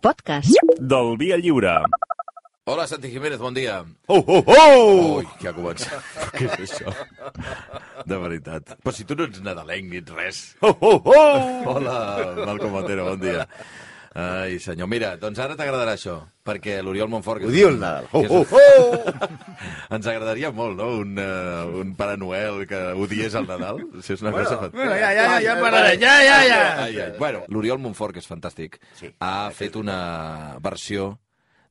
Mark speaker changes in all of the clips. Speaker 1: podcast.
Speaker 2: del Via Lliure.
Speaker 3: Hola, Santi Jiménez, bon dia.
Speaker 2: Oh, oh, oh!
Speaker 3: Ui, que ha començat. Què és això? De veritat. Però si tu no ets nadalenc ni ets res.
Speaker 2: Oh, oh, oh!
Speaker 3: Hola, Malcom Matera, bon dia. Ai, senyor, mira, doncs ara t'agradarà això, perquè l'Oriol Montfort... que
Speaker 4: Ho
Speaker 3: és-
Speaker 4: diu el Nadal.
Speaker 3: que
Speaker 4: Ho,
Speaker 3: és
Speaker 4: ho,
Speaker 3: un-
Speaker 4: ho!
Speaker 3: Ens agradaria molt, no?, un, uh, un Pare Noel que odiés el Nadal. Si és una bueno, cosa fantàstica.
Speaker 5: Ja, ja, ja, ja, pararé, ja, ja, ja.
Speaker 3: Ai, ai. Bueno, l'Oriol Montfort, que és fantàstic, sí, ha fet una versió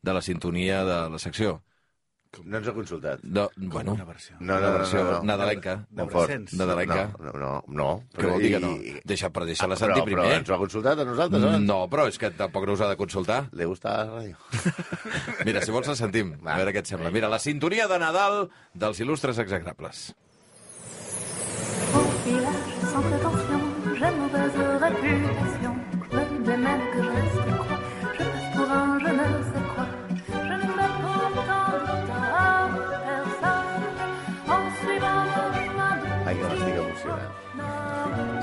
Speaker 3: de la sintonia de la secció.
Speaker 4: No ens ha consultat.
Speaker 3: De, bueno,
Speaker 5: Una versió.
Speaker 4: No,
Speaker 3: Una
Speaker 4: no, no,
Speaker 3: versió
Speaker 4: no, no.
Speaker 3: nadalenca.
Speaker 4: Montfort.
Speaker 5: Descens.
Speaker 3: Nadalenca.
Speaker 4: No, no, no. no.
Speaker 3: Que vol dir que no?
Speaker 4: I-
Speaker 3: Deixa, per deixar la
Speaker 4: Ah,
Speaker 3: Santi
Speaker 4: però,
Speaker 3: primer. eh?
Speaker 4: Però ens ho ha consultat a nosaltres, eh?
Speaker 3: No, però és que tampoc no us ha de consultar.
Speaker 4: Li gusta la ràdio.
Speaker 3: Mira, si vols la sentim, a veure què et sembla. Mira, la sintonia de Nadal dels il·lustres exagrables.
Speaker 6: Au village, sans prétention, j'ai mauvaise réputation. Je démène que je reste croix, je passe pour un je ne sais quoi. Je ne mets pourtant de tort à personne en suivant le chemin de
Speaker 4: Ai, que m'estic emocionant.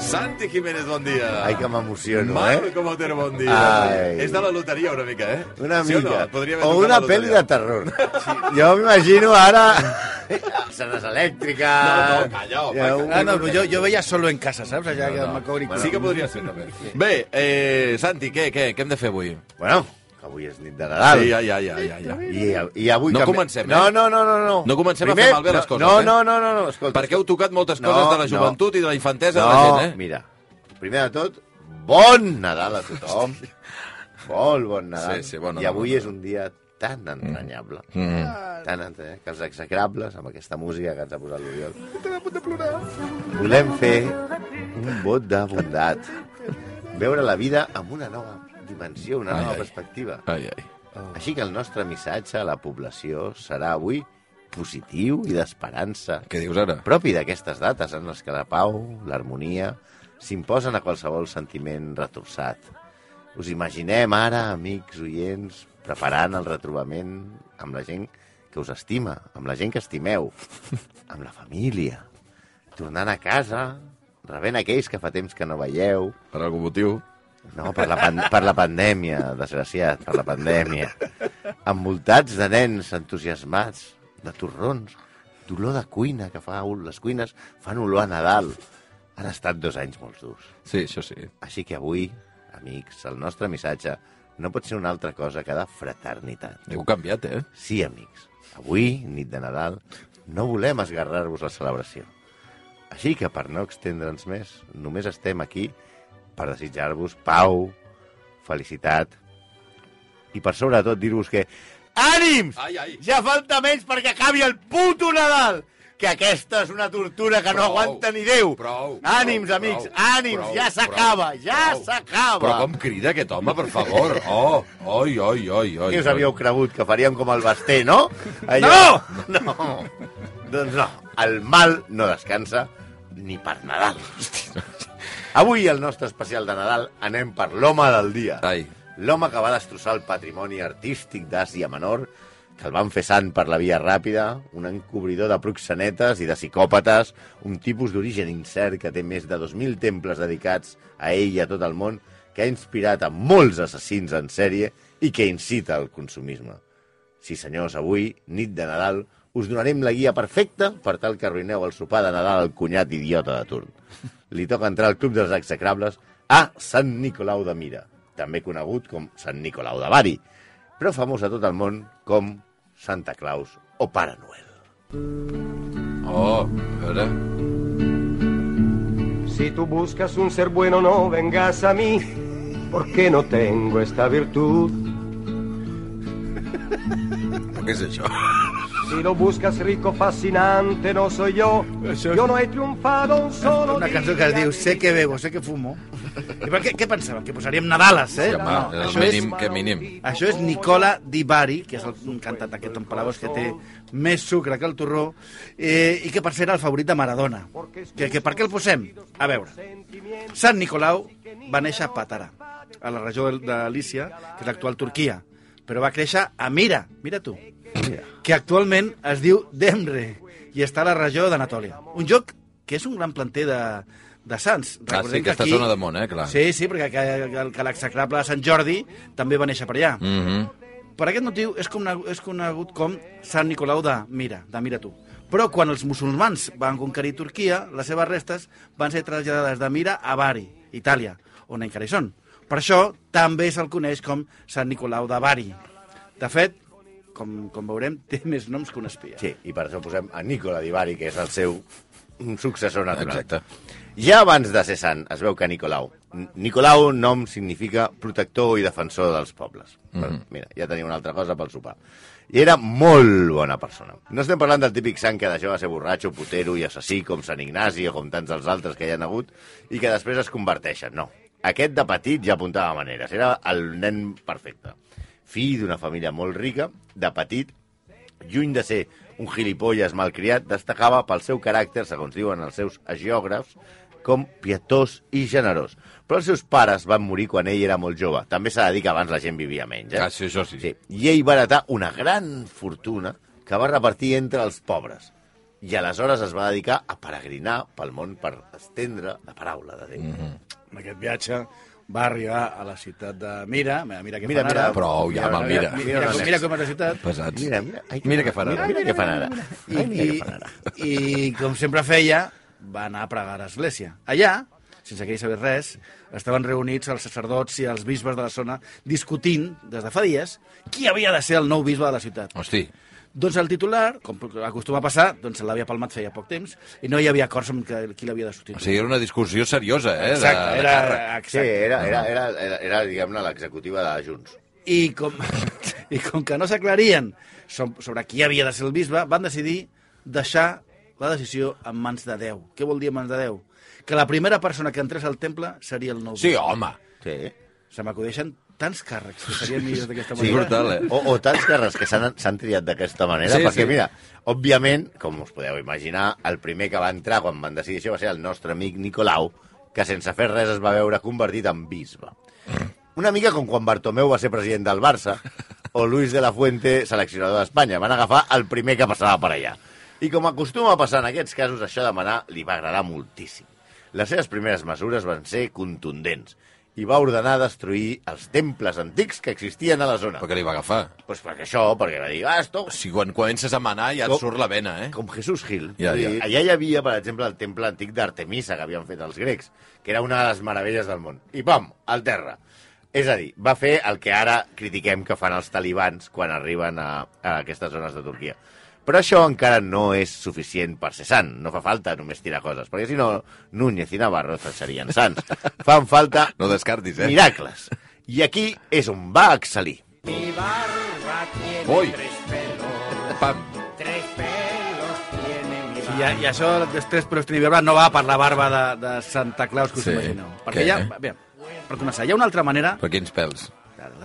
Speaker 3: Santi Jiménez, bon dia.
Speaker 4: Ah. Ai, que m'emociono,
Speaker 3: Mal,
Speaker 4: eh?
Speaker 3: com a ter, bon dia.
Speaker 4: Ai.
Speaker 3: És de la loteria una mica, eh?
Speaker 4: Una
Speaker 3: sí o
Speaker 4: mica.
Speaker 3: No? Podria haver
Speaker 4: o
Speaker 3: tocat
Speaker 4: una
Speaker 3: la
Speaker 4: pel·li
Speaker 3: loteria.
Speaker 4: de terror. Sí. Jo m'imagino ara... Senes elèctriques...
Speaker 3: No, no, calla, home,
Speaker 4: Ja,
Speaker 3: calla.
Speaker 4: un-
Speaker 5: Ah, no, però jo, jo veia solo en casa, saps? Allà
Speaker 3: No,
Speaker 5: que
Speaker 3: no.
Speaker 5: no. Macauri...
Speaker 3: Sí que podria ser, també. Bé, eh, Santi, què, què, què hem de fer avui?
Speaker 4: Bueno, que avui és nit de Nadal.
Speaker 3: Sí, ja, ja, ja, ja, ja.
Speaker 4: I, I avui...
Speaker 3: No
Speaker 4: canvi-
Speaker 3: comencem, eh?
Speaker 4: No, no, no, no. No,
Speaker 3: No comencem a fer malbé les coses,
Speaker 4: no,
Speaker 3: eh?
Speaker 4: No, no, no, no, escolta.
Speaker 3: Perquè heu tocat moltes
Speaker 4: No,
Speaker 3: coses de la
Speaker 4: no.
Speaker 3: joventut i de la infantesa
Speaker 4: no,
Speaker 3: de la gent, eh?
Speaker 4: mira, primer de tot, bon Nadal a tothom. Molt bon Nadal.
Speaker 3: Sí, sí, bon Nadal,
Speaker 4: I avui
Speaker 3: bon
Speaker 4: és un dia tan entranyable, mm. tan entranyable, que els execrables, amb aquesta música que ens ha posat l'Oriol, volem fer un vot de bondat. Veure la vida amb una nova dimensió, una
Speaker 3: Ai,
Speaker 4: nova
Speaker 3: ai. Oh.
Speaker 4: perspectiva.
Speaker 3: Ai, ai.
Speaker 4: Així que el nostre missatge a la població serà avui positiu i d'esperança
Speaker 3: Què dius ara?
Speaker 4: propi d'aquestes dates en les que la pau, l'harmonia, s'imposen a qualsevol sentiment retorçat. Us imaginem ara, amics, oients, preparant el retrobament amb la gent que us estima, amb la gent que estimeu, amb la família, tornant a casa, rebent aquells que fa temps que no veieu,
Speaker 3: Per algun motiu?
Speaker 4: no, per la, pan per la pandèmia, desgraciat, per la pandèmia. Envoltats de nens entusiasmats, de torrons, d'olor de cuina que fa... ol- Les cuines fan olor a Nadal. Han estat dos anys molt durs.
Speaker 3: Sí, això sí.
Speaker 4: Així que avui, amics, el nostre missatge no pot ser una altra cosa que de fraternitat.
Speaker 3: Heu canviat, eh?
Speaker 4: Sí, amics, avui, nit de Nadal, no volem esgarrar-vos la celebració. Així que, per no extendre'ns més, només estem aquí per desitjar-vos pau, felicitat i, per sobretot, dir-vos que ànims!
Speaker 3: Ai, ai.
Speaker 4: Ja falta menys perquè acabi el puto Nadal! Que aquesta és una tortura que no
Speaker 3: Prou,
Speaker 4: aguanta ni Déu!
Speaker 3: prou,
Speaker 4: ànims,
Speaker 3: prou,
Speaker 4: amics,
Speaker 3: prou,
Speaker 4: ànims!
Speaker 3: prou,
Speaker 4: ja s'acaba,
Speaker 3: prou,
Speaker 4: ja
Speaker 3: prou.
Speaker 4: s'acaba!
Speaker 3: Però com crida aquest home, per favor. Oh, oi, oi, oi, oi.
Speaker 4: Què us
Speaker 3: oi.
Speaker 4: havíeu cregut? Que faríem com el Basté, no? Allò... No! No. doncs no, el mal no descansa ni per Nadal. Avui, al nostre especial de Nadal, anem per l'home del dia.
Speaker 3: Ai.
Speaker 4: L'home que va destrossar el patrimoni artístic d'Àsia Menor, que el van fer sant per la via ràpida, un encobridor de proxenetes i de psicòpates, un tipus d'origen incert que té més de 2.000 temples dedicats a ell i a tot el món, que ha inspirat a molts assassins en sèrie i que incita al consumisme. Sí, senyors, avui, nit de Nadal, us donarem la guia perfecta per tal que arruïneu el sopar de Nadal al cunyat idiota de turn. Li toca entrar al Club dels Execrables a Sant Nicolau de Mira, també conegut com Sant Nicolau de Bari, però famós a tot el món com Santa Claus o Pare Noel.
Speaker 3: Oh, a veure...
Speaker 7: Si tú buscas un ser bueno, no vengas a mí, porque no tengo esta virtud.
Speaker 3: Però què és això?
Speaker 7: Si lo buscas rico, fascinante, no soy yo. Yo no he triunfado un solo
Speaker 5: Una cançó que es diu Sé que bebo, sé que fumo. I per què, què pensava? Que posaríem Nadales, eh?
Speaker 3: Sí, home,
Speaker 5: no,
Speaker 3: és
Speaker 5: això, és,
Speaker 3: mínim que mínim.
Speaker 5: això és Ah, Nicola Di Bari, que és el cantant d'aquest Tom Palabos que té més sucre que el torró, eh, i que per ser era el favorit de Maradona. Que, que per què el posem? A veure. Sant Nicolau va néixer a Patara, a la regió de- de Lícia, que és l'actual Turquia, però va créixer a Mira, mira tu, que actualment es diu Demre i està a la regió d'Anatòlia. Un lloc que és un gran planter de, de Sants.
Speaker 3: Ah, sí, aquesta zona de món, eh, clar.
Speaker 5: Sí, sí, perquè que, que, que l'exacrable de Sant Jordi també va néixer per allà.
Speaker 3: Mhm.
Speaker 5: Per aquest motiu és, com, és conegut com Sant Nicolau de Mira, de Mira tu. Però quan els musulmans van conquerir Turquia, les seves restes van ser traslladades de Mira a Bari, Itàlia, on encara hi són. Per això també se'l coneix com Sant Nicolau de Bari. De fet, com, com veurem, té més noms que un espia.
Speaker 4: Sí, i per això posem a Nicola Divari, que és el seu successor natural.
Speaker 3: Exacte.
Speaker 4: Ja abans de ser sant, es veu que Nicolau... N- Nicolau, nom, significa protector i defensor dels pobles. Mm -hmm. Mira, ja tenia una altra cosa pel sopar. I era molt bona persona. No estem parlant del típic sant que de jove va ser borratxo, putero i assassí, com Sant Ignasi o com tants dels altres que hi han hagut, i que després es converteixen. No. Aquest de petit ja apuntava maneres. Era el nen perfecte. Fill d'una família molt rica, de petit lluny de ser un gilipolles malcriat, destacava pel seu caràcter, segons diuen els seus agiògrafs, com pietós i generós. Però els seus pares van morir quan ell era molt jove. També s'ha de dir que abans la gent vivia menys. Eh?
Speaker 3: Ah, sí, això sí.
Speaker 4: Sí. I ell va heretar una gran fortuna que va repartir entre els pobres. I aleshores es va dedicar a peregrinar pel món per estendre la paraula de Déu. Mm
Speaker 3: Mhm.
Speaker 4: -hmm.
Speaker 5: En aquest viatge va arribar a la ciutat de Mira, mira, mira què
Speaker 4: Mira,
Speaker 5: fan
Speaker 4: mira,
Speaker 5: ara.
Speaker 3: prou, ja, va, mira.
Speaker 5: Mira, mira, com- mira com és la ciutat.
Speaker 3: Pesats.
Speaker 4: Mira, mira, ai,
Speaker 3: Mira què fan ara.
Speaker 4: Mira, mira què fan ara.
Speaker 5: I,
Speaker 4: Ai, mira què fan ara.
Speaker 5: i, I com sempre feia, va anar a pregar a l'església. Allà, sense que ell sabés res, estaven reunits els sacerdots i els bisbes de la zona discutint, des de fa dies, qui havia de ser el nou bisbe de la ciutat.
Speaker 3: Hosti,
Speaker 5: Doncs el titular, com acostuma a passar, doncs se l'havia palmat feia poc temps i no hi havia acords amb que- qui l'havia de
Speaker 3: o
Speaker 5: substituir.
Speaker 3: sigui, era una discussió seriosa, eh?
Speaker 5: Exacte,
Speaker 3: de,
Speaker 5: era,
Speaker 3: De càrrec.
Speaker 5: exacte.
Speaker 4: Sí, era, era, era, era, era diguem-ne, l'executiva de Junts.
Speaker 5: I com, i com que no s'aclarien so- sobre qui havia de ser el bisbe, van decidir deixar la decisió en mans de Déu. Què vol dir en mans de Déu? Que la primera persona que entrés al temple seria el nou
Speaker 3: Sí,
Speaker 5: bisbe.
Speaker 3: home.
Speaker 4: Sí.
Speaker 5: Se m'acudeixen tants càrrecs que serien millors d'aquesta
Speaker 3: Sí,
Speaker 5: manera.
Speaker 3: brutal, eh?
Speaker 4: O, o tants carrers que s'han s'han triat d'aquesta manera,
Speaker 3: Sí,
Speaker 4: sí, perquè
Speaker 3: sí.
Speaker 4: sí. mira, òbviament, com us podeu imaginar, el primer que va entrar quan van decidir això va ser el nostre amic Nicolau, que sense fer res es va veure convertit en bisbe. Una mica com quan Bartomeu va ser president del Barça o Luis de la Fuente, seleccionador d'Espanya. Van agafar el primer que passava per allà. I com acostuma a passar en aquests casos, això de manar li va agradar moltíssim. Les seves primeres mesures van ser contundents i va ordenar destruir els temples antics que existien a la zona.
Speaker 3: Perquè li va agafar.
Speaker 4: Pues perquè això, perquè va dir, ah, esto...
Speaker 3: Si quan comences a manar ja et
Speaker 4: Com-
Speaker 3: surt la vena, eh?
Speaker 4: Com Jesús Gil.
Speaker 3: Ja,
Speaker 4: Vull
Speaker 3: ja.
Speaker 4: dir, Allà hi havia, per exemple, el temple antic d'Artemisa que havien fet els grecs, que era una de les meravelles del món. I pam, al terra. És a dir, va fer el que ara critiquem que fan els talibans quan arriben a, a aquestes zones de Turquia. Però això encara no és suficient per ser sant. No fa falta només tirar coses, perquè si no, Núñez i Navarro serien sants. Fan falta
Speaker 3: No descartis, eh?
Speaker 4: miracles. I aquí és on va excel·lir.
Speaker 1: Mi barba tiene
Speaker 3: Uy.
Speaker 1: tres pelos,
Speaker 3: Pam.
Speaker 1: tres pelos tiene mi
Speaker 5: I,
Speaker 1: barba.
Speaker 5: a- I això després, però Stevie Barba no va per la barba de, de Santa Claus que us
Speaker 3: Sí.
Speaker 5: sí. imagineu.
Speaker 3: Què?
Speaker 5: Perquè hi ha, bé, per començar, hi ha una altra manera,
Speaker 3: Per quins pèls?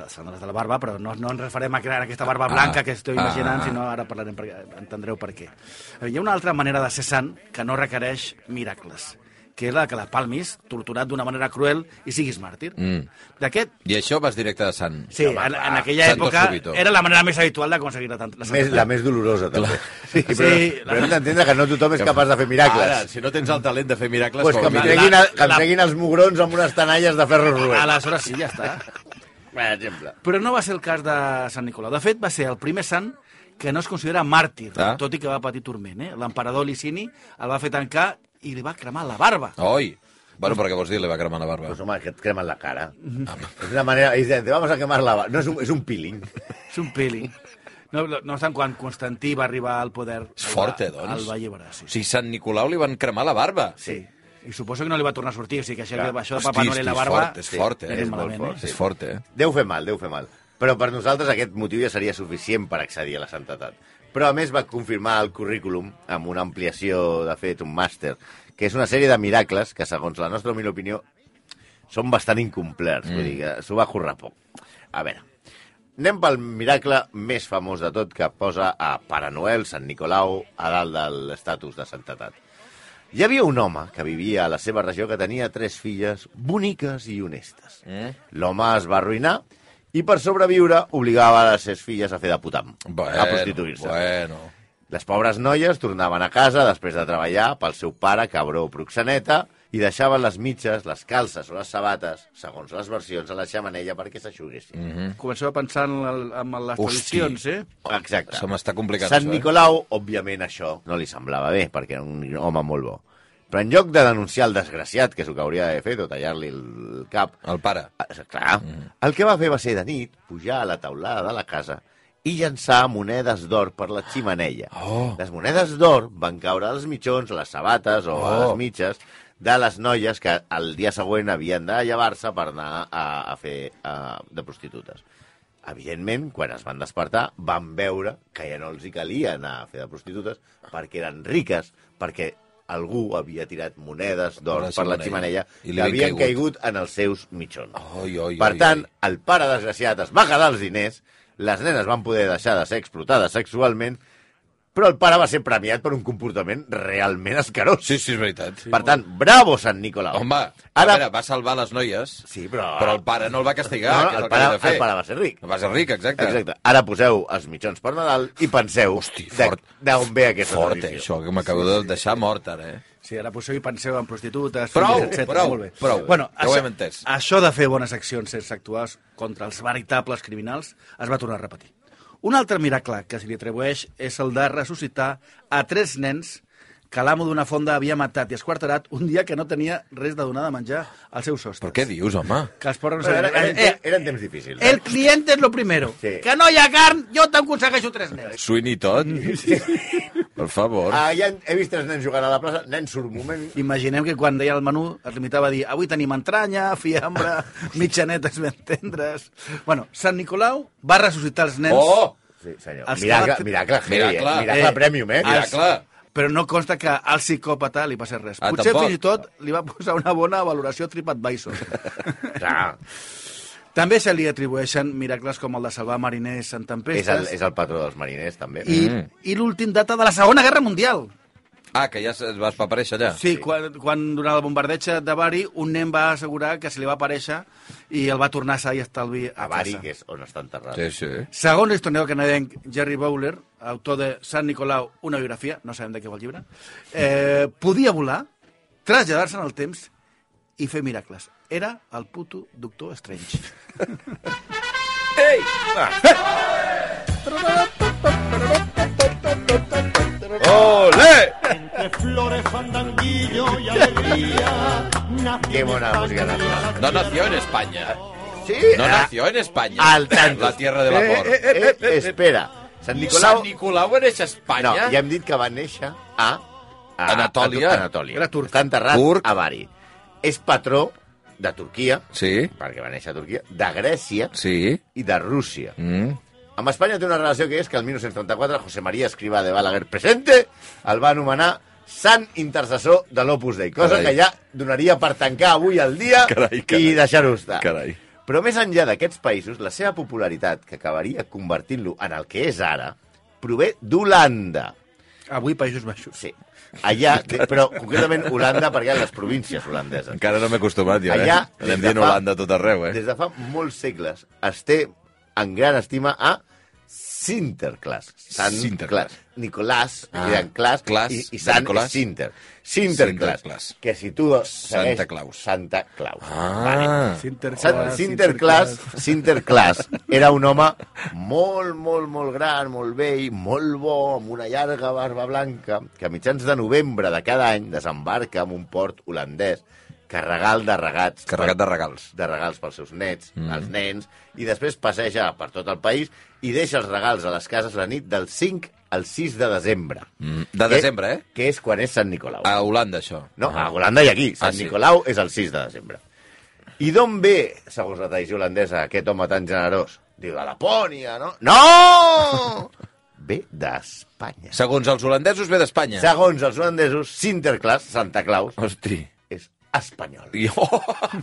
Speaker 5: són les de la barba, però no, no ens referem a crear aquesta barba blanca
Speaker 3: Ah,
Speaker 5: ah, que esteu
Speaker 3: ah,
Speaker 5: imaginant,
Speaker 3: ah.
Speaker 5: ah, sinó ara parlarem, per, entendreu per què. Eh, Hi ha una altra manera de ser sant que no requereix miracles, que és la que la palmis, torturat d'una manera cruel, i siguis màrtir.
Speaker 3: Mm.
Speaker 5: D'aquest,
Speaker 3: I això vas directe de Sant.
Speaker 5: sí,
Speaker 3: Home,
Speaker 5: en, en
Speaker 3: va.
Speaker 5: aquella
Speaker 3: Santo
Speaker 5: època
Speaker 3: Subito.
Speaker 5: era la manera més habitual d'aconseguir la, tant- la
Speaker 4: Més, la
Speaker 5: santedat.
Speaker 4: més dolorosa, també. Sí,
Speaker 5: Sí,
Speaker 4: però,
Speaker 5: la-
Speaker 4: però hem d'entendre que no tothom és capaç de fer miracles.
Speaker 3: Ara, si no tens el talent de fer miracles...
Speaker 4: pues que
Speaker 3: com
Speaker 4: em
Speaker 3: a mínim-
Speaker 4: treguin, el, que em
Speaker 5: la-
Speaker 4: treguin els mugrons amb unes tanalles de ferro roent.
Speaker 5: Aleshores sí, ja està.
Speaker 4: Per exemple.
Speaker 5: Però no va ser el cas de Sant Nicolau. De fet, va ser el primer sant que no es considera màrtir,
Speaker 3: Ah.
Speaker 5: ah. tot i que va patir turment. Eh? L'emperador Licini el va fer tancar i li va cremar la barba.
Speaker 3: Oi! Bueno, però què vols dir? Li va cremar la barba.
Speaker 4: Pues home, que et cremen la cara. És una manera... És de, te vamos a quemar la... ba-". No, és un, és un peeling.
Speaker 5: És un peeling. No, no no obstant, quan Constantí va arribar al poder...
Speaker 3: És
Speaker 5: el va-
Speaker 3: fort, eh, doncs?
Speaker 5: El va alliberar, sí.
Speaker 3: O sigui, Sant Nicolau li van cremar la barba.
Speaker 5: sí. I suposo que no li va tornar a sortir, o sigui que això,
Speaker 4: Clar.
Speaker 5: això de Papa Noel i la barba...
Speaker 3: és fort, és fort, eh?
Speaker 5: era
Speaker 3: És,
Speaker 5: malament,
Speaker 3: molt fort,
Speaker 5: eh?
Speaker 3: és fort, eh?
Speaker 4: Deu fer mal, deu fer mal. Però per nosaltres aquest motiu ja seria suficient per accedir a la santetat. Però a més va confirmar el currículum amb una ampliació, de fet, un màster, que és una sèrie de miracles que, segons la nostra humil opinió, són bastant incomplerts. Mm. Vull dir que s'ho va currar poc. A veure, anem pel miracle més famós de tot que posa a Pare Noel, Sant Nicolau, a dalt de l'estatus de santetat. Hi havia un home que vivia a la seva regió que tenia tres filles boniques i honestes.
Speaker 3: Eh?
Speaker 4: L'home es va arruïnar i per sobreviure obligava a les seves filles a fer de putam,
Speaker 3: Bueno,
Speaker 4: a prostituir-se.
Speaker 3: Bueno.
Speaker 4: Les pobres noies tornaven a casa després de treballar pel seu pare, cabró proxeneta, i deixaven les mitges, les calces o les sabates, segons les versions, a la xamanella perquè s'aixuguessin. Mm -hmm.
Speaker 5: Comenceu eh? a pensar en, la, en les
Speaker 3: Hosti.
Speaker 5: tradicions, eh?
Speaker 4: Exacte.
Speaker 3: Se m'està complicant
Speaker 4: Sant
Speaker 3: això, eh?
Speaker 4: Nicolau, òbviament, això no li semblava bé, perquè era un home molt bo. Però en lloc de denunciar el desgraciat, que és el que hauria d'haver fet, o tallar-li el cap,
Speaker 3: El pare.
Speaker 4: Ah, Clar. Mm. El que va fer va ser de nit pujar a la teulada de la casa i llançar monedes d'or per la ximenella.
Speaker 3: Oh.
Speaker 4: Les monedes d'or van caure als mitjons, a les sabates o oh. a
Speaker 3: Oh.
Speaker 4: les mitges de les noies que el dia següent havien de llevar-se per anar a, a fer a, de prostitutes. Evidentment, quan es van despertar, van veure que ja no els hi calia anar a fer de prostitutes perquè eren riques, perquè algú havia tirat monedes d'or per la ximenella i li havien caigut caigut Oh. en els seus mitjons.
Speaker 3: Oi, oi,
Speaker 4: per
Speaker 3: oi,
Speaker 4: tant,
Speaker 3: oi.
Speaker 4: el pare desgraciat es va quedar els diners, les nenes van poder deixar de ser explotades sexualment, però el pare va ser premiat per un comportament realment escarós.
Speaker 3: Sí, sí, és veritat.
Speaker 4: Per tant, bravo, Sant Nicolau!
Speaker 3: Home, a
Speaker 4: Ara-
Speaker 3: veure, va salvar les noies,
Speaker 4: Sí, però-
Speaker 3: però el pare no el va castigar,
Speaker 4: No,
Speaker 3: que és el,
Speaker 4: el
Speaker 3: que
Speaker 4: pare-
Speaker 3: havia de fer.
Speaker 4: el pare va ser ric.
Speaker 3: Va ser ric, exacte.
Speaker 4: Exacte. Ara poseu els mitjons per Nadal i penseu
Speaker 3: Hosti,
Speaker 4: de-
Speaker 3: fort.
Speaker 4: d'on ve aquesta
Speaker 3: Fort, eh,
Speaker 4: tradició.
Speaker 3: això, que m'acabo de deixar mort, ara, eh?
Speaker 5: Sí, ara poseu i penseu en prostitutes,
Speaker 3: Prou,
Speaker 5: filles, etcètera.
Speaker 3: prou,
Speaker 5: Molt bé.
Speaker 3: prou.
Speaker 5: Bueno,
Speaker 3: Ja ho hem entès.
Speaker 5: Això de fer bones accions sense actuar contra els veritables criminals es va tornar a repetir. Un altre miracle que se li atribueix és el de ressuscitar a tres nens que l'amo d'una fonda havia matat i esquarterat un dia que no tenia res de donar de menjar als seus sostres.
Speaker 3: Però què dius, home?
Speaker 5: Que els pobres... no
Speaker 4: Però Era,
Speaker 5: sabien-
Speaker 4: eren,
Speaker 5: Eh, eh,
Speaker 4: eren temps difícils. eh?
Speaker 5: el client és lo primero.
Speaker 4: Sí.
Speaker 5: Que no hi ha carn, jo t'aconsegueixo tres nens.
Speaker 3: Sweeney Todd? Per favor.
Speaker 4: Ah, ja he vist tres nens jugant a la plaça, nens surmoments,
Speaker 5: Imaginem que quan deia el menú es limitava a dir avui tenim entranya, fiambre, mitjanetes ben tendres... Bueno, Sant Nicolau va ressuscitar els nens,
Speaker 3: Oh!
Speaker 4: Sí, senyor.
Speaker 5: Els
Speaker 4: Miracle,
Speaker 5: que-
Speaker 4: miracle, heavy,
Speaker 3: Miracle.
Speaker 4: eh? miracle
Speaker 5: Eh,
Speaker 4: premium, eh?
Speaker 3: Mira, clar,
Speaker 5: però no consta que al psicòpata li passés res.
Speaker 3: Ah,
Speaker 5: Potser
Speaker 3: tampoc.
Speaker 5: fins i tot li va posar una bona valoració a TripAdvisor.
Speaker 4: Clar.
Speaker 5: També se li atribueixen miracles com el de salvar mariners
Speaker 4: És
Speaker 5: en
Speaker 4: el,
Speaker 5: tempestes
Speaker 4: és el patró dels mariners, també.
Speaker 5: i, i l'últim data de la Segona Guerra Mundial.
Speaker 3: Ah, que ja es va aparèixer allà.
Speaker 5: Sí, quan, quan durant el bombardeig de Bari, un nen va assegurar que se li va aparèixer i el va tornar a sa i estalvi a,
Speaker 4: a Bari,
Speaker 5: casa.
Speaker 4: que és on està enterrat.
Speaker 3: Sí, sí.
Speaker 5: Segons l'historiador canadenc Jerry Bowler, autor de Sant Nicolau, una biografia, no sabem de què va el llibre, eh, podia volar, traslladar-se en el temps i fer miracles. Era el puto doctor Strange.
Speaker 4: Que bona música nacional.
Speaker 3: No nació en España.
Speaker 4: Sí,
Speaker 3: No
Speaker 4: ah,
Speaker 3: nació en España.
Speaker 4: Al tanto.
Speaker 3: La tierra de vapor.
Speaker 4: Eh, eh, eh, espera. Sant Nicolau...
Speaker 3: San Nicolau en és Espanya?
Speaker 4: No, ja hem dit que va néixer a... a
Speaker 3: Anatòlia.
Speaker 4: A, Anatòlia.
Speaker 5: Era turc.
Speaker 4: Està enterrat
Speaker 3: Turc.
Speaker 4: a Bari. És patró de Turquia,
Speaker 3: Sí,
Speaker 4: perquè va néixer a Turquia, de Grècia
Speaker 3: sí.
Speaker 4: i de Rússia.
Speaker 3: Mm.
Speaker 4: Amb Espanya té una relació que és que el 1934 José María Escrivá de Balaguer presente el va anomenar Sant Intercessor de l'Opus Dei, cosa
Speaker 3: Carai.
Speaker 4: que ja donaria per tancar avui el dia
Speaker 2: Carai, carai.
Speaker 4: i deixar-ho estar.
Speaker 2: Carai.
Speaker 4: Però més enllà d'aquests països, la seva popularitat, que acabaria convertint-lo en el que és ara, prové d'Holanda.
Speaker 5: Avui, Països Baixos.
Speaker 4: Sí, allà, però concretament Holanda perquè en les províncies holandeses.
Speaker 3: Encara no m'he acostumat, jo,
Speaker 4: Allà,
Speaker 3: eh?
Speaker 4: des
Speaker 3: Anem
Speaker 4: de
Speaker 3: dient
Speaker 4: fa-
Speaker 3: Holanda a tot arreu, eh?
Speaker 4: Des de fa molts segles es té en gran estima a Sinterklaas. Sant
Speaker 3: Sinterklaas.
Speaker 4: Cla- Nicolàs,
Speaker 3: Ah,
Speaker 4: ah, Claas,
Speaker 3: Claas,
Speaker 4: i, i
Speaker 3: de
Speaker 4: Sant
Speaker 3: Nicolàs.
Speaker 4: és Sinter. Sinterklaas,
Speaker 3: Sinterklaas.
Speaker 4: que si tu segueix...
Speaker 3: Santa Claus.
Speaker 4: Santa Claus.
Speaker 3: Ah,
Speaker 4: Sant- Sinterklaas, Sinterklaas era un home molt, molt, molt gran, molt vell, molt bo, amb una llarga barba blanca, que a mitjans de novembre de cada any desembarca en un port holandès carregat de regats.
Speaker 3: carregat de regals.
Speaker 4: de regals pels seus nets, mm. els nens, i després passeja per tot el país i deixa els regals a les cases la nit del 5 al 6 de desembre.
Speaker 3: Mm, de desembre, eh?
Speaker 4: Que és quan és Sant Nicolau.
Speaker 3: A Holanda, això.
Speaker 4: No, a Holanda i aquí. Sant
Speaker 3: Ah, sí.
Speaker 4: Nicolau és el 6 de desembre. I d'on ve, segons la tradició holandesa, aquest home tan generós? Diu, de Lapònia, no? No! ve d'Espanya.
Speaker 3: Segons els holandesos, ve d'Espanya.
Speaker 4: Segons els holandesos, Sinterklaas, Santa Claus,
Speaker 3: Hosti.
Speaker 4: és espanyol.
Speaker 3: Oh. I, oh,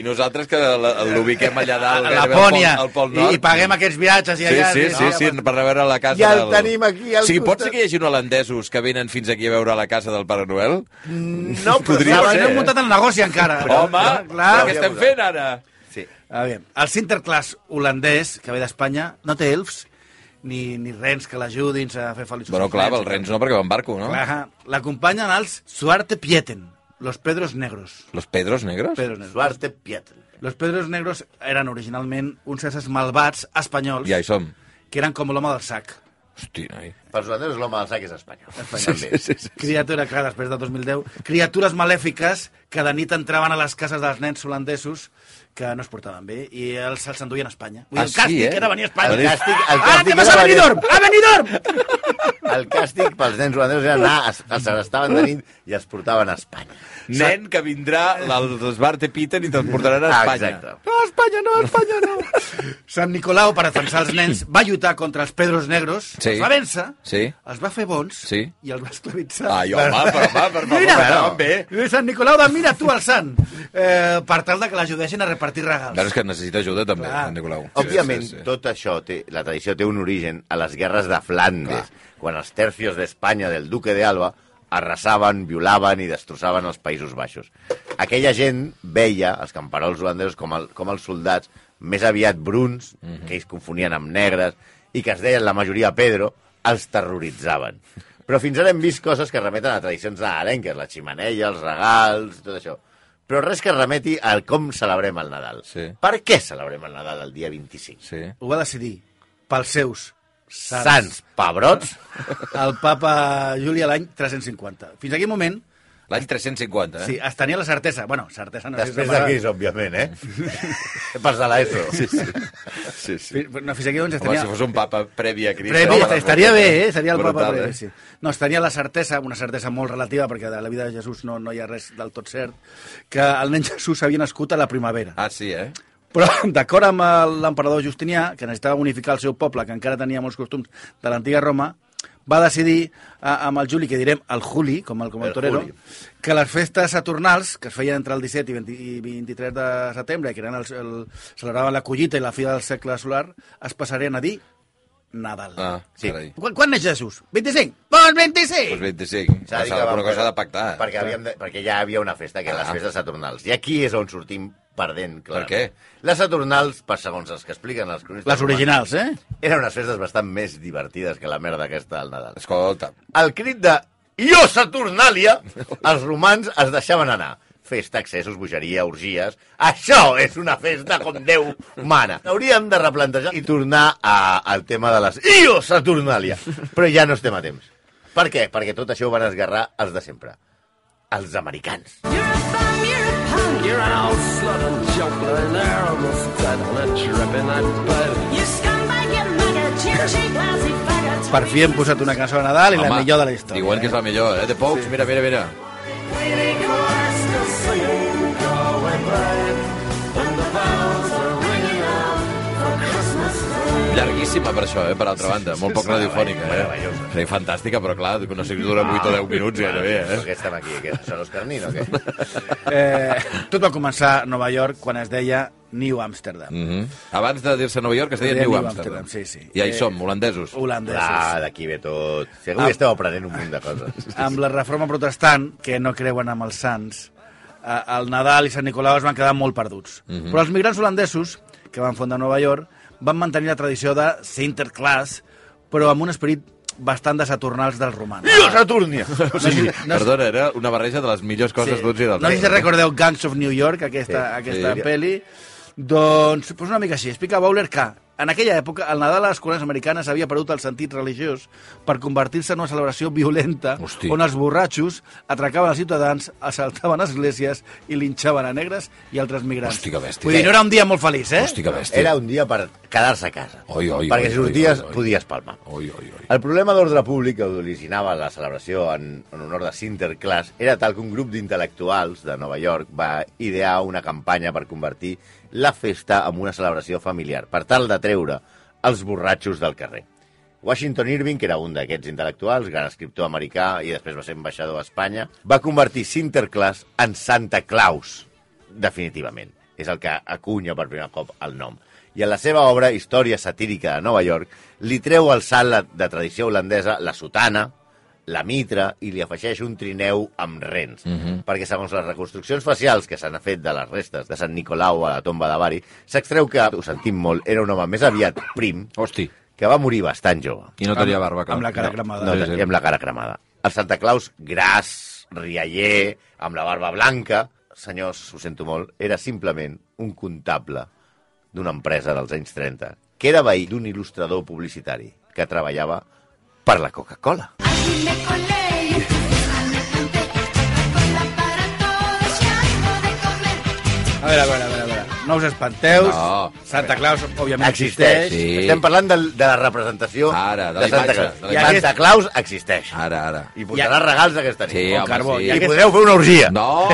Speaker 3: I nosaltres que la- l'ubiquem allà dalt,
Speaker 5: La
Speaker 3: gairebé
Speaker 5: Pònia.
Speaker 3: al Pol, al Pol
Speaker 5: I,
Speaker 3: Nord.
Speaker 5: I paguem aquests viatges i
Speaker 3: Sí,
Speaker 5: allà...
Speaker 3: sí, sí, sí, per anar a veure la casa
Speaker 4: Ja el
Speaker 3: del...
Speaker 4: tenim aquí al
Speaker 3: sí, pot
Speaker 4: costat.
Speaker 3: ser que hi hagi holandesos que venen fins aquí a veure la casa del Pare Noel?
Speaker 4: No, però
Speaker 5: Podria
Speaker 3: Podria
Speaker 5: no,
Speaker 4: saben-
Speaker 5: no
Speaker 3: ser, eh?
Speaker 5: hem muntat el negoci encara.
Speaker 3: Home,
Speaker 5: Clar,
Speaker 3: però
Speaker 5: clar,
Speaker 4: que
Speaker 3: què estem
Speaker 4: hauria
Speaker 3: fent ara?
Speaker 4: Sí.
Speaker 5: A veure, el Sinterklaas holandès, que ve d'Espanya, no té elfs ni, ni rens que l'ajudin a fer feliços.
Speaker 3: Bueno,
Speaker 5: els
Speaker 3: clar,
Speaker 5: nens.
Speaker 3: els rens no, perquè van barco, no?
Speaker 5: Clar, L'acompanyen els Suarte Pieten, Los Pedros Negros.
Speaker 3: Los Pedros Negros?
Speaker 5: Pedros Negros.
Speaker 4: Duarte Pietro.
Speaker 5: Los Pedros Negros eren originalment uns éssers malvats espanyols
Speaker 3: Ja hi som.
Speaker 5: que eren com l'home del sac.
Speaker 3: Hosti, noi.
Speaker 4: Per nosaltres l'home del sac és espanyol.
Speaker 5: Espanyol.
Speaker 4: També.
Speaker 5: Criatura, clar, després de 2010, criatures malèfiques que de nit entraven a les cases dels nens holandesos que no es portaven bé i els se'ls enduien a Espanya. Vull dir,
Speaker 3: Ah,
Speaker 5: el
Speaker 3: sí,
Speaker 5: càstig
Speaker 3: eh?
Speaker 5: era venir a Espanya.
Speaker 4: El càstig-
Speaker 3: Ah,
Speaker 4: el
Speaker 5: Ara
Speaker 4: càstig
Speaker 5: te vas
Speaker 4: era
Speaker 5: a
Speaker 4: venir-
Speaker 5: Benidorm! A Benidorm!
Speaker 4: El càstig pels nens holandesos era anar, es- els arrestaven de nit i els portaven a Espanya.
Speaker 3: Nen que vindrà l'Esbar de Peter i te'l portaran a
Speaker 4: Ah,
Speaker 3: Espanya.
Speaker 4: exacte.
Speaker 3: No, Espanya no, Espanya no.
Speaker 5: Sant Nicolau, per defensar els nens, va lluitar contra els Pedros Negros,
Speaker 3: Sí.
Speaker 5: els va vèncer,
Speaker 3: Sí.
Speaker 5: els va fer bons
Speaker 3: Sí. Ah,
Speaker 5: i els va esclavitzar.
Speaker 3: Ai, home, però home, per favor,
Speaker 5: Mira,
Speaker 3: però,
Speaker 5: no.
Speaker 3: home.
Speaker 5: Lluís Sant Nicolau de Mira tu al Sant, eh, per tal de que l'ajudessin a repartir regals.
Speaker 3: Doncs és que necessita ajuda també,
Speaker 5: Clar.
Speaker 3: Sant Nicolau.
Speaker 4: Òbviament,
Speaker 3: Sí, sí, sí.
Speaker 4: tot això, té, la tradició té un origen a les guerres de Flandes, quan els tercios d'Espanya del duque de Alba arrasaven, violaven i destrossaven els Països Baixos. Aquella gent veia els camperols holandesos com, el, com els soldats més aviat bruns, que ells confonien amb negres, i que es deien la majoria Pedro, els terroritzaven. Però fins ara hem vist coses que remeten a tradicions nadalenques, la ximeneia, els regals, tot això. Però res que remeti al com celebrem el Nadal.
Speaker 3: Sí.
Speaker 4: Per què celebrem el Nadal el dia 25?
Speaker 3: Sí.
Speaker 5: Ho va decidir pels seus
Speaker 4: Sants, pebrots,
Speaker 5: el papa Juli a l'any 350. Fins aquell moment,
Speaker 3: L'any 350, eh?
Speaker 5: sí, es tenia la certesa. Bueno, certesa no
Speaker 4: després
Speaker 5: sé
Speaker 4: de
Speaker 5: si
Speaker 4: Cris, òbviament, eh? Pas de l'ESO. Sí, sí.
Speaker 3: sí, sí.
Speaker 5: Fins, no, fins aquí doncs es
Speaker 3: Home,
Speaker 5: tenia...
Speaker 3: si fos un papa previ a Crist...
Speaker 5: Previ,
Speaker 3: home,
Speaker 5: est- estaria bé, eh? Seria el
Speaker 3: brutal,
Speaker 5: papa previ,
Speaker 3: eh?
Speaker 5: sí. No, es tenia la certesa, una certesa molt relativa, perquè de la vida de Jesús no, no hi ha res del tot cert, que el nen Jesús havia nascut a la primavera.
Speaker 3: Ah, sí, eh?
Speaker 5: Però d'acord amb el- l'emperador Justinià, que necessitava unificar el seu poble, que encara tenia molts costums de l'antiga Roma, va decidir a, amb el Juli, que direm el Juli, com el, com el,
Speaker 4: El
Speaker 5: torero,
Speaker 4: Juli.
Speaker 5: que les festes saturnals, que es feien entre el 17 i, 20, i 23 de setembre, que eren els, el, celebraven la collita i la fi del segle solar, es passarien a dir Nadal.
Speaker 3: Ah,
Speaker 4: Sí.
Speaker 3: sí. carai.
Speaker 5: Quan, quan neix Jesús? 25? Doncs 25!
Speaker 3: Doncs 25. S'ha alguna cosa de pactar.
Speaker 4: Perquè, havíem de, perquè ja havia una festa, que eren les
Speaker 3: Ah.
Speaker 4: festes saturnals. I aquí és on sortim perdent, clar.
Speaker 3: què?
Speaker 4: Les saturnals, per segons els que expliquen els cronistes...
Speaker 5: Les originals, eh?
Speaker 4: romans, Eren unes festes bastant més divertides que la merda aquesta del Nadal.
Speaker 3: Escolta,
Speaker 4: Al crit de «Io Saturnalia!», els romans es deixaven anar. Festa, excessos, bogeria, orgies... Això és una festa com Déu mana. Hauríem de replantejar i tornar a, al tema de les «Io Saturnalia!», però ja no estem a temps. Per què? Perquè tot això ho van esgarrar els de sempre. Els americans.
Speaker 1: You're an old slut and joker, an arrow stud and a tripping and bud.
Speaker 5: Per fi hem posat una cançó de Nadal i la millor de la història.
Speaker 3: Diuen que és la millor, eh? De Pocs, mira, mira, mira. Llarguíssima per això, eh? Per altra banda, molt poc radiofònica, eh?
Speaker 4: Meravellosa.
Speaker 3: Sí, fantàstica, però clar, no sé si dura 8
Speaker 5: Ah,
Speaker 3: o 10 minuts gairebé,
Speaker 4: Però
Speaker 3: eh?
Speaker 4: Què estem aquí? Que són els carnin o què?
Speaker 5: Eh, tot va començar a Nova York quan es deia New Amsterdam.
Speaker 3: Mm -hmm. Abans de dir-se Nova York es deia New Amsterdam.
Speaker 5: sí, sí.
Speaker 3: I
Speaker 5: Eh,
Speaker 3: ahí som, holandesos.
Speaker 4: Ah,
Speaker 5: Holandesos.
Speaker 4: d'aquí ve tot. Segur
Speaker 3: Ah.
Speaker 4: que esteu aprenent un munt de coses.
Speaker 5: Amb la reforma protestant, que no creuen amb els sants, eh, el Nadal i Sant Nicolau es van quedar molt perduts. Però els migrants holandesos, que van fundar Nova York, van mantenir la tradició de Sinterklaas, però amb un esperit bastant de saturnals dels romans.
Speaker 4: «Io Saturnia!»
Speaker 3: O sigui, perdona, era una barreja de les millors coses d'uns i dels
Speaker 5: No sé si
Speaker 3: altres.
Speaker 5: recordeu Gangs of New York, aquesta,
Speaker 4: Sí,
Speaker 5: aquesta
Speaker 4: sí.
Speaker 5: pel·li. Doncs, doncs una mica així. Explica Bowler que en aquella època el Nadal a les colònies americanes havia perdut el sentit religiós per convertir-se en una celebració violenta
Speaker 3: Hosti.
Speaker 5: on els borratxos atracaven els ciutadans, assaltaven esglésies i linxaven a negres i altres migrants.
Speaker 3: Hosti, que bèstia.
Speaker 5: Vull dir, no era un dia molt feliç, eh?
Speaker 3: Hosti, que bèstia.
Speaker 4: Era un dia per quedar-se a casa.
Speaker 3: Oi, oi,
Speaker 4: perquè
Speaker 3: oi,
Speaker 4: si sorties
Speaker 3: oi, oi, oi.
Speaker 4: podies palmar.
Speaker 3: Oi, oi, oi.
Speaker 4: El problema d'ordre públic que originava la celebració en, en honor de Sinterklaas era tal que un grup d'intel·lectuals de Nova York va idear una campanya per convertir la festa en una celebració familiar, per tal de treure els borratxos del carrer. Washington Irving, que era un d'aquests intel·lectuals, gran escriptor americà i després va ser ambaixador a Espanya, va convertir Sinterklaas en Santa Claus, definitivament. És el que acunya per primer cop el nom. I en la seva obra, Història satírica de Nova York, li treu al salt la- de tradició holandesa la sotana, la mitra i li afegeix un trineu amb rens, perquè segons les reconstruccions facials que s'han fet de les restes de Sant Nicolau a la tomba de Bari, s'extreu que, ho sentim molt, era un home més aviat prim,
Speaker 3: Hosti,
Speaker 4: que va morir bastant jove
Speaker 3: i no tenia barba, clar.
Speaker 5: amb la cara cremada.
Speaker 4: no,
Speaker 3: Sí,
Speaker 4: sí,
Speaker 3: sí.
Speaker 4: amb la cara cremada. El Santa Claus gras, rialler, amb la barba blanca. Senyors, ho sento molt, era simplement un comptable d'una empresa dels anys 30, que era veí d'un il·lustrador publicitari que treballava per la Coca-Cola.
Speaker 6: Hazme con ley, adelante, Coca-Cola para todos y algo de comer.
Speaker 5: A veure, a veure, a veure, a veure. No us espanteu.
Speaker 3: No.
Speaker 5: Santa Claus, òbviament,
Speaker 4: Existeix.
Speaker 5: existeix.
Speaker 3: Sí.
Speaker 4: Estem parlant de, de la representació
Speaker 3: Ara, de la
Speaker 4: de Santa
Speaker 3: imatge,
Speaker 4: Claus.
Speaker 3: de
Speaker 5: la imatge.
Speaker 4: Santa Claus existeix.
Speaker 3: Ara, ara.
Speaker 4: I portarà regals aquesta nit.
Speaker 3: Sí,
Speaker 5: Con
Speaker 3: home,
Speaker 5: carbó.
Speaker 3: sí.
Speaker 5: I
Speaker 4: I
Speaker 5: aquest-
Speaker 4: podeu fer una orgia.
Speaker 3: No!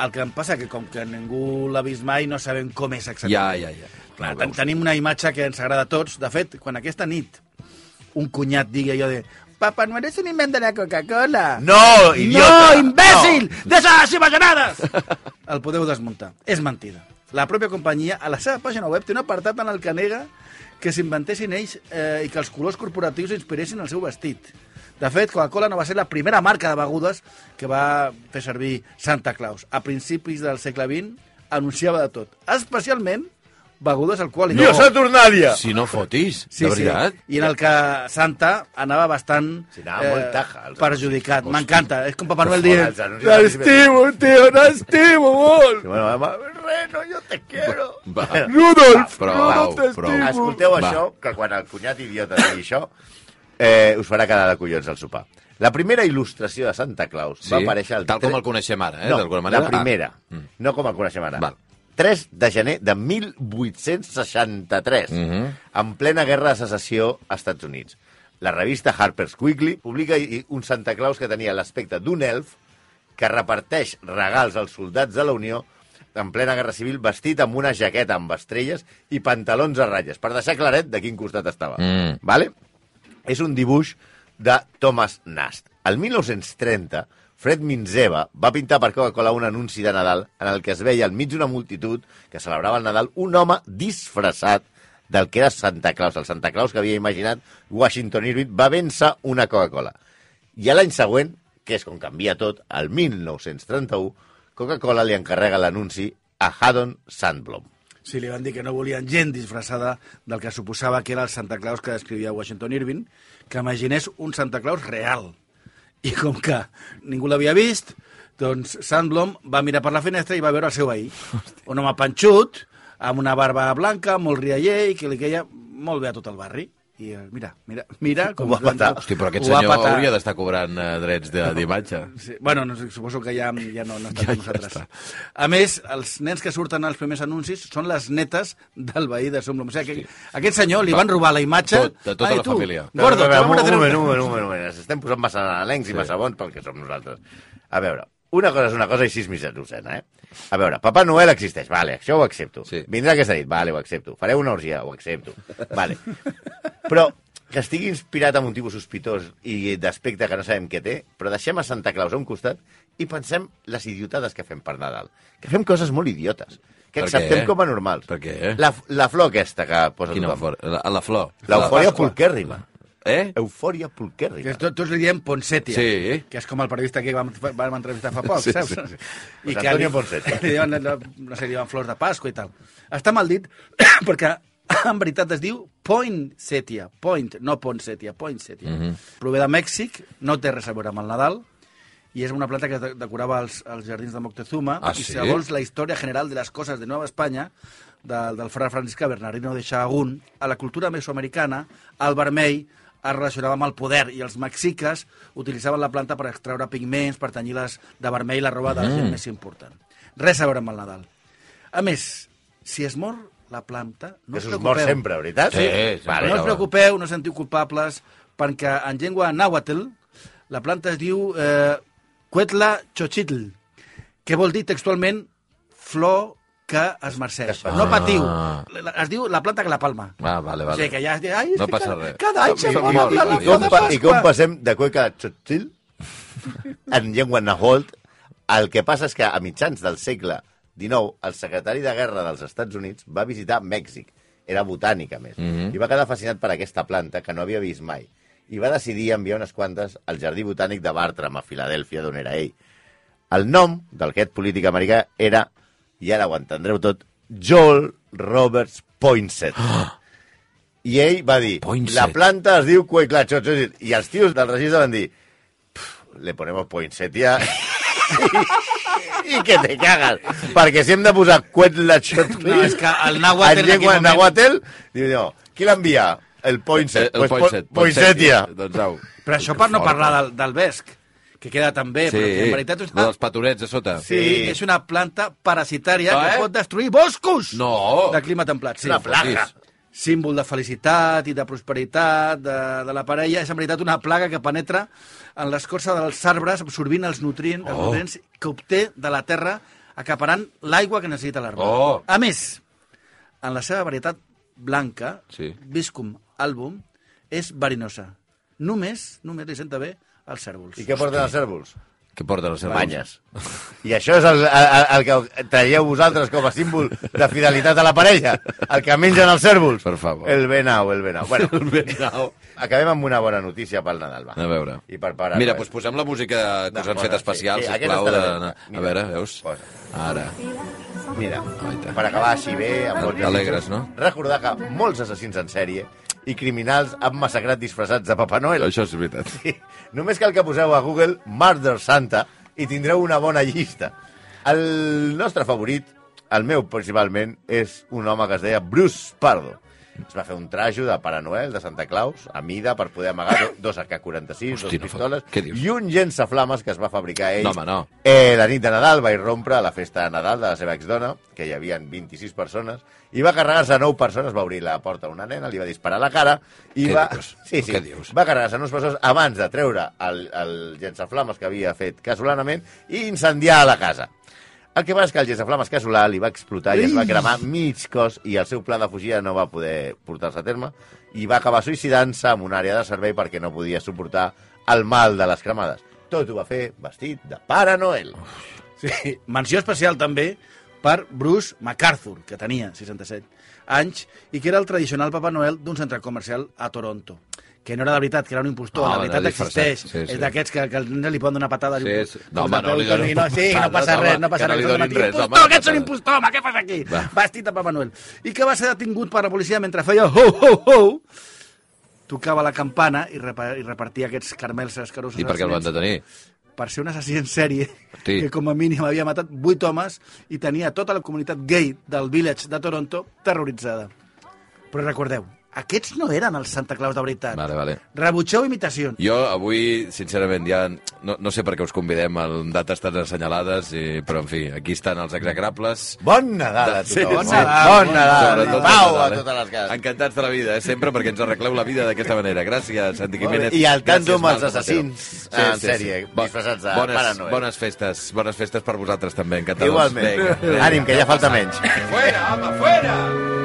Speaker 5: El que em passa que com que ningú l'ha vist mai, no sabem com és
Speaker 3: ja,
Speaker 5: exactament.
Speaker 3: ja, ja.
Speaker 5: Clar, ten tenim una imatge que ens agrada a tots. De fet, quan aquesta nit un cunyat digui allò de Papa, no eres un invent de la Coca-Cola.
Speaker 4: No, idiota!
Speaker 5: No, imbècil! No. Deixa les imaginades! El podeu desmuntar. És mentida. La pròpia companyia, a la seva pàgina web, té un apartat en el que nega que s'inventessin ells eh, i que els colors corporatius inspiressin el seu vestit. De fet, Coca-Cola no va ser la primera marca de begudes que va fer servir Santa Claus. A principis del segle XX anunciava de tot, especialment begudes alcohòliques.
Speaker 4: Dios Saturnalia!
Speaker 3: Si no fotis, de veritat.
Speaker 5: I en el que Santa anava bastant eh,
Speaker 4: Sí, anava molt taja, els
Speaker 5: perjudicat. M'encanta, és com Papà Noel
Speaker 4: Que fora,
Speaker 5: dient
Speaker 4: els anuncis de
Speaker 5: T'estimo, tio, t'estimo
Speaker 4: I
Speaker 5: molt!
Speaker 4: Bueno, mamà, Reno, jo te quiero.
Speaker 3: Ah, Va.
Speaker 5: Rudolf,
Speaker 3: Prou,
Speaker 5: Rudolf,
Speaker 3: prou.
Speaker 5: t'estimo!
Speaker 4: Escolteu
Speaker 3: Va.
Speaker 4: això, que quan el cunyat idiota digui això, eh, us farà quedar de collons al sopar. La primera il·lustració de Santa Claus va aparèixer... El
Speaker 3: Tal
Speaker 4: tre-
Speaker 3: com el coneixem ara, eh?
Speaker 4: No,
Speaker 3: d'alguna manera.
Speaker 4: la primera.
Speaker 3: Ah. Mm.
Speaker 4: No com el coneixem ara.
Speaker 3: Val.
Speaker 4: 3 de gener de 1863,
Speaker 3: Mhm.
Speaker 4: en plena guerra de secessió a Estats Units. La revista Harper's Weekly publica i- un Santa Claus que tenia l'aspecte d'un elf que reparteix regals als soldats de la Unió en plena guerra civil vestit amb una jaqueta amb estrelles i pantalons a ratlles, per deixar claret de quin costat estava.
Speaker 3: Mm.
Speaker 4: Vale? és un dibuix de Thomas Nast. El 1930, Fred Minzeva va pintar per Coca-Cola un anunci de Nadal en el que es veia al mig d'una multitud que celebrava el Nadal un home disfressat del que era Santa Claus. El Santa Claus que havia imaginat Washington Irving va vèncer una Coca-Cola. I a l'any següent, que és com canvia tot, el 1931, Coca-Cola li encarrega l'anunci a Haddon Sandblom.
Speaker 5: Sí, li van dir que no volien gent disfressada del que suposava que era el Santa Claus que descrivia Washington Irving, que imaginés un Santa Claus real. I com que ningú l'havia vist, doncs Sandblom va mirar per la finestra i va veure el seu veí. Un home panxut, amb una barba blanca, molt rialler, i que li queia molt bé a tot el barri. I eh, mira, mira, mira... Com doncs
Speaker 4: Ho va patar.
Speaker 3: Hosti, però aquest
Speaker 5: ho va
Speaker 3: senyor
Speaker 5: patar.
Speaker 3: hauria d'estar cobrant eh, drets de- d'imatge.
Speaker 5: Sí. Bueno, no, sé, suposo que ja, ja no, no està
Speaker 3: Ja-
Speaker 5: ja,
Speaker 3: ja
Speaker 5: nosaltres.
Speaker 3: està.
Speaker 5: a més, els nens que surten als primers anuncis són les netes del veí de Somblom. O sigui, que aquest senyor li van robar la imatge...
Speaker 3: Tot- de tota
Speaker 5: Ai,
Speaker 3: la
Speaker 5: tu,
Speaker 3: família.
Speaker 5: Gordo,
Speaker 4: a
Speaker 5: te
Speaker 4: veure,
Speaker 5: vam
Speaker 4: un, un
Speaker 5: retreure-
Speaker 4: moment, un moment, un moment, un moment. Ens estem posant massa analencs sí. i massa bons pel que som nosaltres. A veure, una cosa és una cosa i sis mitjans docena, eh? A veure, Papa Noel existeix, vale, això ho accepto.
Speaker 3: Sí.
Speaker 4: Vindrà aquesta nit, vale, ho accepto. Fareu una orgia, ho accepto. Vale. Però que estigui inspirat en un tipus sospitós i d'aspecte que no sabem què té, però deixem a Santa Claus a un costat i pensem les idiotades que fem per Nadal. Que fem coses molt idiotes, que
Speaker 3: Per
Speaker 4: acceptem
Speaker 3: què?
Speaker 4: com a normals.
Speaker 3: Per què?
Speaker 4: La, la flor aquesta que posa
Speaker 3: Quina
Speaker 4: tothom.
Speaker 3: flor? La, la flor.
Speaker 4: L'eufòria pulquèrrima.
Speaker 3: Eh?
Speaker 4: Eufòria
Speaker 5: Que
Speaker 4: pulquèrrima.
Speaker 5: to- tots li diem Ponsetia,
Speaker 3: Sí.
Speaker 5: que és com el periodista que vam, vam entrevistar fa poc,
Speaker 3: Sí,
Speaker 5: saps?
Speaker 3: sí, sí.
Speaker 5: I
Speaker 4: Pues
Speaker 5: que
Speaker 4: Antonio
Speaker 5: li-
Speaker 4: Ponseti.
Speaker 5: Li diuen, no, no sé, li diuen flors de Pasqua i tal. Està mal dit, perquè en veritat es diu Poinsettia, point, no Ponsetia, Poinsettia.
Speaker 3: Mhm.
Speaker 5: Mm -hmm. Prové de Mèxic, no té res a veure amb el Nadal, i és una planta que de- decorava els, els jardins de Moctezuma,
Speaker 3: Ah,
Speaker 5: i
Speaker 3: sí?
Speaker 5: segons la història general de les coses de Nova Espanya, del, del fra Francisca Bernardino de Sahagún, a la cultura mesoamericana, el vermell es relacionava amb el poder i els mexiques utilitzaven la planta per extraure pigments, per tenyir les de vermell la roba de la
Speaker 4: Mm.
Speaker 5: gent més important. Res a veure amb el Nadal. A més, si es mor la planta, no
Speaker 4: que
Speaker 5: us
Speaker 4: s'us mor
Speaker 5: preocupeu.
Speaker 4: sempre, veritat?
Speaker 3: Sí, sempre.
Speaker 4: Vale.
Speaker 5: No us
Speaker 3: cabrón.
Speaker 5: preocupeu, no us sentiu culpables, perquè en llengua nàhuatl la planta es diu eh, Cuetla Xochitl, que vol dir textualment flor que es marceix.
Speaker 4: Que es
Speaker 5: No
Speaker 3: fa.
Speaker 5: patiu.
Speaker 3: Ah.
Speaker 5: La- Es diu la planta que la palma.
Speaker 3: Ah, vale,
Speaker 5: O
Speaker 3: vale.
Speaker 5: sigui que ja es diu... Ai, és
Speaker 3: No
Speaker 5: que
Speaker 3: passa
Speaker 5: cada,
Speaker 3: res.
Speaker 5: Cada any se
Speaker 4: I,
Speaker 5: vol
Speaker 4: com,
Speaker 5: la
Speaker 4: i,
Speaker 5: la
Speaker 4: com,
Speaker 5: flor de
Speaker 4: pa, I com
Speaker 5: Pasqua.
Speaker 4: passem de cueca a txotxil en llengua naholt, el que passa és que a mitjans del segle XIX el secretari de Guerra dels Estats Units va visitar Mèxic. Era botànica, a més. I va quedar fascinat per aquesta planta que no havia vist mai. I va decidir enviar unes quantes al Jardí Botànic de Bartram, a Filadèlfia, d'on era ell. El nom del d'aquest polític americà era, i ara ho entendreu tot, Joel Roberts Poinsett. I ell va dir,
Speaker 3: Poinsett.
Speaker 4: la planta es diu Cueclatxots, i els tios del registre van dir, "Pf, le ponemos poinsettia i, i que te cagas. Perquè si hem de posar Quetzalcoatl
Speaker 5: No, és que el nàhuatl
Speaker 4: en
Speaker 5: en aquell
Speaker 4: llengua
Speaker 5: moment- Eh,
Speaker 4: nàhuatl, diu no, qui l'envia? El poinset.
Speaker 3: Eh, El
Speaker 4: po-
Speaker 3: poinset.
Speaker 4: Poinsettia.
Speaker 3: Doncs au.
Speaker 5: Però això per no parlar del, del vesc, que queda tan bé,
Speaker 3: Sí,
Speaker 5: però que en veritat és
Speaker 3: lo
Speaker 5: una,
Speaker 3: dels patonets de sota.
Speaker 5: sí. és una planta parasitària
Speaker 3: Ah, eh?
Speaker 5: que pot destruir boscos
Speaker 3: No.
Speaker 5: de clima templat. Sí.
Speaker 4: Una plaga.
Speaker 3: fotis.
Speaker 5: símbol de felicitat i de prosperitat de, de la parella, és en veritat una plaga que penetra en l'escorça dels arbres absorbint els nutrients, els nutrients que obté de la terra acaparant l'aigua que necessita l'arbre.
Speaker 3: Oh.
Speaker 5: A més, en la seva varietat blanca,
Speaker 3: Sí.
Speaker 5: Viscum album, és verinosa. Només, només li senta bé als cèrvols.
Speaker 4: I què porten els cèrvols?
Speaker 3: Què porta la seva?
Speaker 4: Banyes. I això és el, el, el que traieu vosaltres com a símbol de fidelitat a la parella. El que mengen els cèrvols.
Speaker 3: Per favor.
Speaker 4: El venau, el venau. Bueno,
Speaker 3: El venau.
Speaker 4: Acabem amb una bona notícia pel Nadal, va.
Speaker 3: A veure.
Speaker 4: I per parar.
Speaker 3: Mira, doncs posem la música que us han
Speaker 4: D'acord,
Speaker 3: fet
Speaker 4: sí.
Speaker 3: especial,
Speaker 4: Sí,
Speaker 3: sí,
Speaker 4: aquesta
Speaker 3: sisplau. De...
Speaker 4: està bé, va.
Speaker 3: A
Speaker 4: Mira.
Speaker 3: veure, veus?
Speaker 4: Posa.
Speaker 3: Ara.
Speaker 4: Mira,
Speaker 3: Aita.
Speaker 4: per acabar així bé, amb bons
Speaker 3: Alegres,
Speaker 4: desitjos,
Speaker 3: no?
Speaker 4: Recordar que molts assassins en sèrie i criminals han massacrat disfressats de Papa Noel.
Speaker 3: Això és veritat.
Speaker 4: Sí. Només cal que poseu a Google Murder Santa i tindreu una bona llista. El nostre favorit, el meu principalment, és un home que es deia Bruce Pardo. Es va fer un trajo de Pare Noel, de Santa Claus, a mida per poder amagar do- dos AK-46, dos
Speaker 3: Hosti, no fa-
Speaker 4: pistoles
Speaker 3: què dius?
Speaker 4: i un llançaflames que es va fabricar ell.
Speaker 3: No, home, no.
Speaker 4: Eh, la nit de Nadal va irrompre a la festa de Nadal de la seva exdona, que hi havia 26 persones, i va carregar-se a 9 persones, va obrir la porta a una nena, li va disparar a la cara i
Speaker 3: Què
Speaker 4: va...
Speaker 3: dius?
Speaker 4: Sí, sí.
Speaker 3: Què dius?
Speaker 4: Va carregar-se en uns passos abans de treure el, el llançaflames que havia fet casolanament i incendiar la casa. El que va és que el llançaflames casolà li va explotar i es va cremar mig cos i el seu pla de fugida no va poder portar-se a terme i va acabar suïcidant-se en una àrea de servei perquè no podia suportar el mal de les cremades. Tot ho va fer vestit de Pare Noel.
Speaker 5: Sí. Menció especial també per Bruce MacArthur, que tenia 67 anys, i que era el tradicional Papa Noel d'un centre comercial a Toronto que no era de veritat, que era un impostor,
Speaker 3: No,
Speaker 5: no, la
Speaker 3: era
Speaker 5: veritat
Speaker 3: Ah, disfressat.
Speaker 5: existeix.
Speaker 3: Sí,
Speaker 5: Sí,
Speaker 3: sí.
Speaker 5: sí. És d'aquests que, que els nens li poden donar patades.
Speaker 3: Sí,
Speaker 5: i-
Speaker 3: sí. No, home, no li
Speaker 5: que
Speaker 3: donin
Speaker 5: no, sí, no passa
Speaker 3: patades,
Speaker 5: res,
Speaker 3: home,
Speaker 5: no passa
Speaker 3: que no
Speaker 5: res.
Speaker 3: li
Speaker 5: que
Speaker 3: donin
Speaker 5: donin
Speaker 3: res, home,
Speaker 5: Impostor, que ets un
Speaker 3: patades.
Speaker 5: impostor, home, què fas aquí?
Speaker 3: Va.
Speaker 5: Vestit de Papa Noel. I que va ser detingut per la policia mentre feia ho, ho, ho, tocava la campana i, repa i repartia aquests carmels escarosos.
Speaker 3: I per
Speaker 5: als
Speaker 3: què el van
Speaker 5: nens
Speaker 3: detenir?
Speaker 5: per ser un assassí en sèrie
Speaker 3: Sí.
Speaker 5: que com a mínim havia matat vuit homes i tenia tota la comunitat gay del Village de Toronto terroritzada. Però recordeu, aquests no eren els Santa Claus de veritat.
Speaker 3: Vale, vale.
Speaker 5: Rebutgeu imitacions.
Speaker 3: Jo avui, sincerament, ja no, no sé per què us convidem en dates tan assenyalades, i, però en fi, aquí estan els execrables.
Speaker 4: Bon Nadal a
Speaker 3: Sí,
Speaker 4: tothom.
Speaker 3: sí.
Speaker 4: Bon Nadal.
Speaker 3: Sobretot
Speaker 4: Pau
Speaker 3: Nadal,
Speaker 4: a
Speaker 3: eh?
Speaker 4: totes les cases.
Speaker 3: Encantats de la vida, eh? sempre perquè ens arregleu la vida d'aquesta manera. Gràcies, Santi Jiménez.
Speaker 4: I al
Speaker 3: Gràcies,
Speaker 4: tanto amb els
Speaker 3: Marc Zapatero.
Speaker 4: assassins en sèrie, disfressats de
Speaker 3: bones,
Speaker 4: Pare Noel.
Speaker 3: Bones festes, bones festes per vosaltres també, encantadors.
Speaker 4: Igualment.
Speaker 3: Vinga, vinga.
Speaker 4: Ànim, que ja falta menys.
Speaker 7: ¡Fuera, ama, fuera!